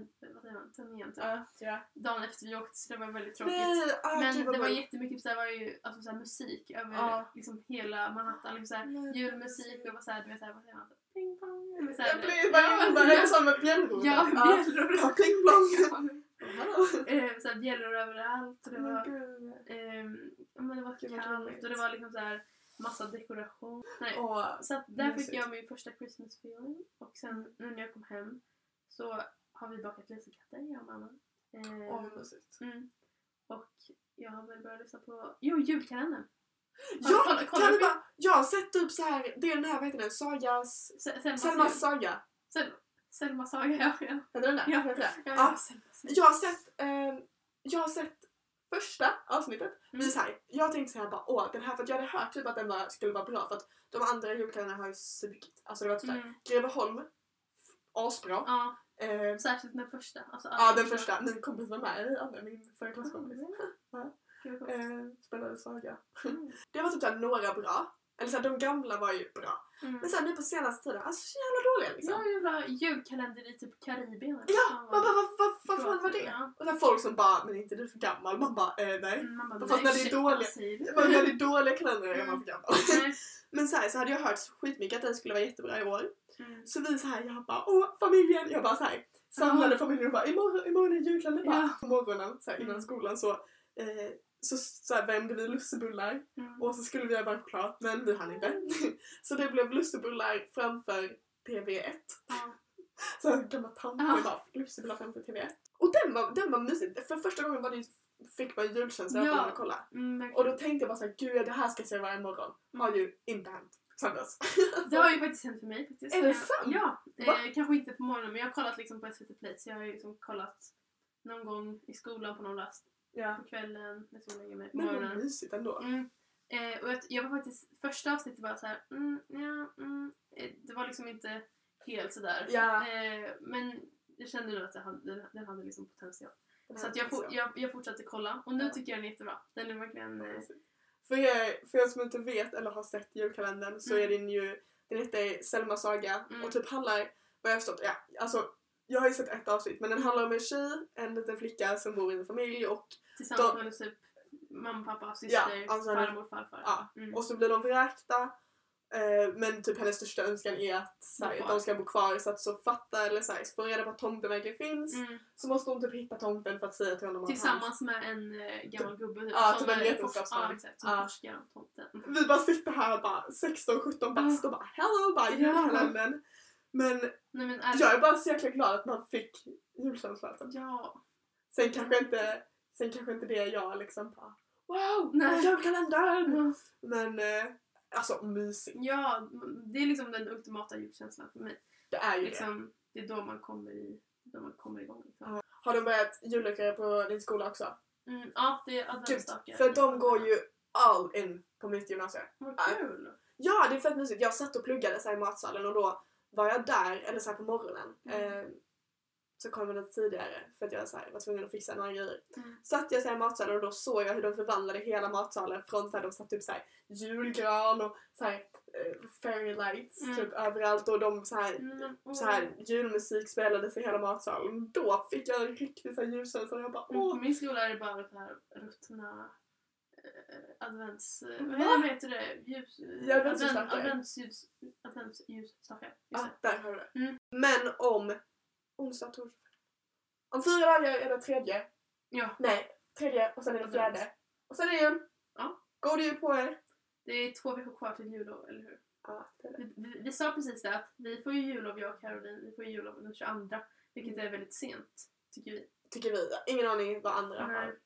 Speaker 2: julgranständningen typ.
Speaker 1: Ja, ja.
Speaker 2: dagen efter vi åkte så det var väldigt tråkigt.
Speaker 1: Nej, ah,
Speaker 2: Men
Speaker 1: gud, vad
Speaker 2: det var
Speaker 1: bra.
Speaker 2: jättemycket så här, var ju, alltså, så här, musik över
Speaker 1: Ja.
Speaker 2: liksom, hela Manhattan. Liksom, så här,
Speaker 1: Nej,
Speaker 2: julmusik och så här, du vet, så här, vad säger man? Ping pong. men så här-
Speaker 1: Jag blir bara varje sån med bjällror.
Speaker 2: Ja, bjällror.
Speaker 1: Mm. Ja, Ah. pling plong.
Speaker 2: Ja. Eh, så här bjällror överallt och det var, ehm, ja, men det var
Speaker 1: Mm. Gud, vad
Speaker 2: kallt
Speaker 1: roligt.
Speaker 2: och det var liksom så här massa dekoration. Nej,
Speaker 1: Och
Speaker 2: så att där fick
Speaker 1: mysigt.
Speaker 2: jag min första Christmas feeling och
Speaker 1: Mm.
Speaker 2: sen nu när jag kom hem så har vi bakat lussekatter jag och mamma. Ehm,
Speaker 1: åh, vad mysigt.
Speaker 2: mm. Och jag har väl börjat lyssna på, jo julkalendern! Har-
Speaker 1: Ja,
Speaker 2: kolla- kolla
Speaker 1: kan du
Speaker 2: på-
Speaker 1: bara, jag har sett typ så här, det är den här, vad heter den? Sagas...
Speaker 2: Se- Selmas,
Speaker 1: Selmas saga.
Speaker 2: Sel- Selma Saga ja. ja.
Speaker 1: Heter den där?
Speaker 2: Ja.
Speaker 1: Heter det?
Speaker 2: Ja,
Speaker 1: Ja.
Speaker 2: Selmas.
Speaker 1: Jag har sett, eh, jag har sett första avsnittet.
Speaker 2: Mm.
Speaker 1: Men så här, jag tänkte såhär bara åh den här, för att jag hade hört typ att den var, skulle vara bra för att de andra julkalendrarna har ju sugit. Alltså det var typ såhär,
Speaker 2: Mm.
Speaker 1: Greveholm, asbra.
Speaker 2: Ja,
Speaker 1: Eh,
Speaker 2: särskilt den första. Alltså,
Speaker 1: Ja, den första. Min kompis var med i andra, min förra klasskompis.
Speaker 2: Mm. Gud, vad-
Speaker 1: Eh, spelade Saga.
Speaker 2: Mm.
Speaker 1: Det var typ såhär några bra. Eller såhär, de gamla var ju bra.
Speaker 2: Mm.
Speaker 1: Men såhär nu på senaste tiden, alltså så jävla dåliga liksom.
Speaker 2: Ja, jävla julkalender i typ Karibien.
Speaker 1: Ja, man bara vad, vad, vad fan var det?
Speaker 2: Ja.
Speaker 1: Och sen folk som bara, men är inte du för gammal? Man bara, eh, nej.
Speaker 2: Mm, Man bara, alltså,
Speaker 1: Fast när det är
Speaker 2: ursäkta,
Speaker 1: dåliga-
Speaker 2: vad säger du?
Speaker 1: Men när det är dåliga kalendrar är
Speaker 2: Mm.
Speaker 1: man för gammal.
Speaker 2: Nej.
Speaker 1: Men så, här, så hade jag hört skitmycket att den skulle vara jättebra i år.
Speaker 2: Mm.
Speaker 1: Så vi så här, jag bara åh familjen! Jag bara så här, samlade
Speaker 2: Ja.
Speaker 1: familjen och bara imorgon, imorgon är julkalender. Bara,
Speaker 2: Ja.
Speaker 1: På morgonen så här, innan
Speaker 2: Mm.
Speaker 1: skolan så eh, så, så här, värmde vi lussebullar
Speaker 2: Mm.
Speaker 1: och så skulle vi göra varm choklad men vi hann inte. Så det blev lussebullar framför TV1.
Speaker 2: Ja.
Speaker 1: Så en gammal tant
Speaker 2: Ja.
Speaker 1: bara lussebullar framför TV1. Och den var, den var mysig. För första gången var det, ju- fick man ju julkänsla
Speaker 2: Ja.
Speaker 1: ja. att kolla.
Speaker 2: Mm, verkligen.
Speaker 1: Och då tänkte jag bara såhär, gud ja, det här ska jag se varje morgon.
Speaker 2: Mm.
Speaker 1: Har ju inte hänt sen dess.
Speaker 2: Det har ju faktiskt hänt för mig faktiskt.
Speaker 1: Är det
Speaker 2: Jag-
Speaker 1: sant?
Speaker 2: Ja.
Speaker 1: Va?
Speaker 2: Eh, kanske inte på morgonen men jag har kollat liksom på SVT Play så jag har ju liksom kollat någon gång i skolan på någon rast,
Speaker 1: Ja.
Speaker 2: på kvällen, när jag lägger mig, på
Speaker 1: Men det var
Speaker 2: morgonen.
Speaker 1: mysigt ändå.
Speaker 2: Mm. Eh, och jag, jag var faktiskt, första avsnittet var så här, mm, ja, mm. Eh, det var liksom inte helt sådär.
Speaker 1: Ja.
Speaker 2: Eh, men jag kände nog att det hade, den, den hade liksom potential. Så att jag, for, jag, jag fortsatte kolla och nu
Speaker 1: Ja.
Speaker 2: tycker jag den är jättebra. Den är verkligen... Eh,
Speaker 1: För er, för er som inte vet eller har sett julkalendern så
Speaker 2: Mm.
Speaker 1: är den ju, den heter Selma saga
Speaker 2: Mm.
Speaker 1: och typ handlar, vad jag har förstått, ja alltså jag har ju sett ett avsnitt men den handlar om en tjej, en liten flicka som bor i en familj och,
Speaker 2: tillsammans
Speaker 1: de-
Speaker 2: med typ mamma, pappa, syster,
Speaker 1: alltså den-
Speaker 2: farmor, farfar.
Speaker 1: ja.
Speaker 2: Mm.
Speaker 1: och så blir de vräkta eh, men typ hennes största önskan är att så
Speaker 2: Bo
Speaker 1: här,
Speaker 2: kvar.
Speaker 1: de ska bo kvar så att så fatta eller så, här, så får reda på att tomten verkligen finns
Speaker 2: Mm.
Speaker 1: så måste hon typ hitta tomten för att säga till honom att han...
Speaker 2: Tillsammans med en eh, gammal gubbe typ,
Speaker 1: Ja, typ en
Speaker 2: är-
Speaker 1: vetenskapsman.
Speaker 2: Ja, exakt. Som
Speaker 1: Ja.
Speaker 2: forskar om tomten.
Speaker 1: Vi bara sitter här och bara 16-17 bast och bara hello bara
Speaker 2: Ja.
Speaker 1: julkalendern. Men
Speaker 2: Nej men ärligt.
Speaker 1: Jag är bara så jäkla glad att man fick julkänslan. typ.
Speaker 2: Ja.
Speaker 1: Sen kanske inte, sen kanske inte det är jag liksom bara Wow!
Speaker 2: Nej.
Speaker 1: Julkalendern! Men eh, alltså mysigt.
Speaker 2: Ja, det är liksom den ultimata julkänslan för mig.
Speaker 1: Det är ju det.
Speaker 2: Liksom, det är då man kommer, i, då man kommer igång. Liksom.
Speaker 1: Har de börjat julökare på din skola också?
Speaker 2: Mm, ja, det är
Speaker 1: Gud,
Speaker 2: adventsstakar.
Speaker 1: för de går ju all in på mitt gymnasium.
Speaker 2: Vad kul!
Speaker 1: Ja, det är fett mysigt. Jag satt och pluggade så här, i matsalen och då var jag där, eller så här, på morgonen.
Speaker 2: Mm.
Speaker 1: Eh, så kom jag lite tidigare för att jag så här, var tvungen att fixa några grejer.
Speaker 2: Mm.
Speaker 1: Satt jag så här, i matsalen och då såg jag hur de förvandlade hela matsalen från så här, de satte upp så här, julgran och så här, eh, fairy lights
Speaker 2: Mm.
Speaker 1: typ överallt och de så här,
Speaker 2: Mm, åh.
Speaker 1: så här, julmusik spelades i hela matsalen. Då fick jag en riktig så här, julkänsla och jag bara
Speaker 2: Mm,
Speaker 1: åh!
Speaker 2: på min skola är det bara så här ruttna eh, advents... eh,
Speaker 1: Va?
Speaker 2: Vad heter- vad heter det? Ljus...
Speaker 1: Ja, adventsljusstakar.
Speaker 2: advent- adventsljus- Adventsljusstakar.
Speaker 1: Ja,
Speaker 2: Just det.
Speaker 1: där har du det.
Speaker 2: Mm.
Speaker 1: Men om onsdag, torsdag, om fyra dagar är det tredje
Speaker 2: Ja,
Speaker 1: Nej, tredje och sen är det fjärde. Och sen är det jul.
Speaker 2: Ja.
Speaker 1: God jul på er!
Speaker 2: det är två veckor kvar till jullov, eller hur?
Speaker 1: Ja, det är det.
Speaker 2: Vi, vi, vi sa precis det att vi får ju jullov, jag och Caroline, vi får ju jullov den 22.
Speaker 1: Mm.
Speaker 2: Vilket är väldigt sent, tycker vi.
Speaker 1: Tycker vi. Ingen aning vad andra
Speaker 2: Nej.
Speaker 1: har.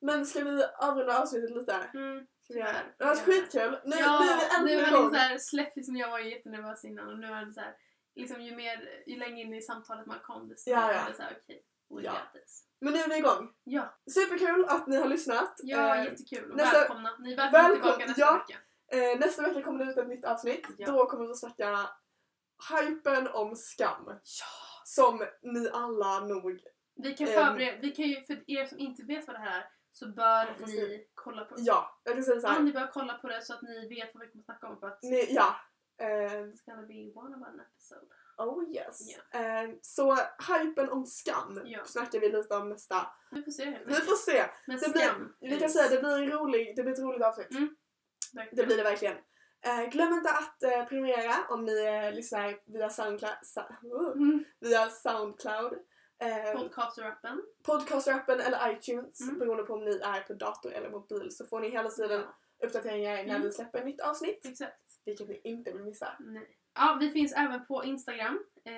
Speaker 1: Men ska vi avrunda avsnittet lite?
Speaker 2: Mm.
Speaker 1: Ska vi göra
Speaker 2: Tyvärr.
Speaker 1: det? Det var skitkul! Nu,
Speaker 2: ja,
Speaker 1: nu är vi
Speaker 2: nu
Speaker 1: äntligen
Speaker 2: är det
Speaker 1: igång!
Speaker 2: så här släppt, liksom jag var ju jättenervös innan och nu är det så här, liksom ju mer, ju längre in i samtalet man kom desto
Speaker 1: Ja,
Speaker 2: mer
Speaker 1: ja.
Speaker 2: är det så här, okej, oh, we
Speaker 1: Ja.
Speaker 2: got this.
Speaker 1: Men nu är vi igång!
Speaker 2: Ja,
Speaker 1: Superkul att ni har lyssnat!
Speaker 2: ja
Speaker 1: Eh,
Speaker 2: jättekul och
Speaker 1: nästa-
Speaker 2: välkomna. Ni är välkomna
Speaker 1: välkom-
Speaker 2: tillbaka nästa
Speaker 1: ja.
Speaker 2: vecka.
Speaker 1: eh, nästa vecka kommer det ut ett nytt avsnitt.
Speaker 2: Ja.
Speaker 1: Då kommer vi att snacka hypen om skam.
Speaker 2: Ja.
Speaker 1: Som ni alla nog...
Speaker 2: Vi kan
Speaker 1: Ehm.
Speaker 2: förbereda, vi kan ju, för er som inte vet vad det här är så bör
Speaker 1: Ja, fast
Speaker 2: ni kolla på det.
Speaker 1: Ja, jag kan säga
Speaker 2: Ja,
Speaker 1: såhär.
Speaker 2: ni bör kolla på det så att ni vet vad vi kommer snacka om för att
Speaker 1: Ni, ja. Eh,
Speaker 2: it's gonna be one of an episode.
Speaker 1: Oh yes. Eh, så hypen om skam
Speaker 2: Ja.
Speaker 1: snackar vi lite om nästa.
Speaker 2: Vi får se helt
Speaker 1: Vi får se.
Speaker 2: Men
Speaker 1: Det blir-
Speaker 2: skam.
Speaker 1: Vi kan säga att det blir, en rolig, det blir ett roligt avsnitt.
Speaker 2: Mm. Verkligen.
Speaker 1: Det blir det verkligen. Eh, glöm inte att eh, prenumerera om ni eh, lyssnar via Soundcloud. Sa- uh,
Speaker 2: Mm.
Speaker 1: via Soundcloud. Eh,
Speaker 2: Podcast-rappen.
Speaker 1: Podcastrappen eller iTunes
Speaker 2: Mm.
Speaker 1: beroende på om ni är på dator eller mobil så får ni hela tiden
Speaker 2: Ja,
Speaker 1: uppdateringar när
Speaker 2: Mm.
Speaker 1: vi släpper nytt avsnitt.
Speaker 2: exakt.
Speaker 1: Vilket ni inte vill missa.
Speaker 2: Nej. Ja, vi finns även på Instagram eh,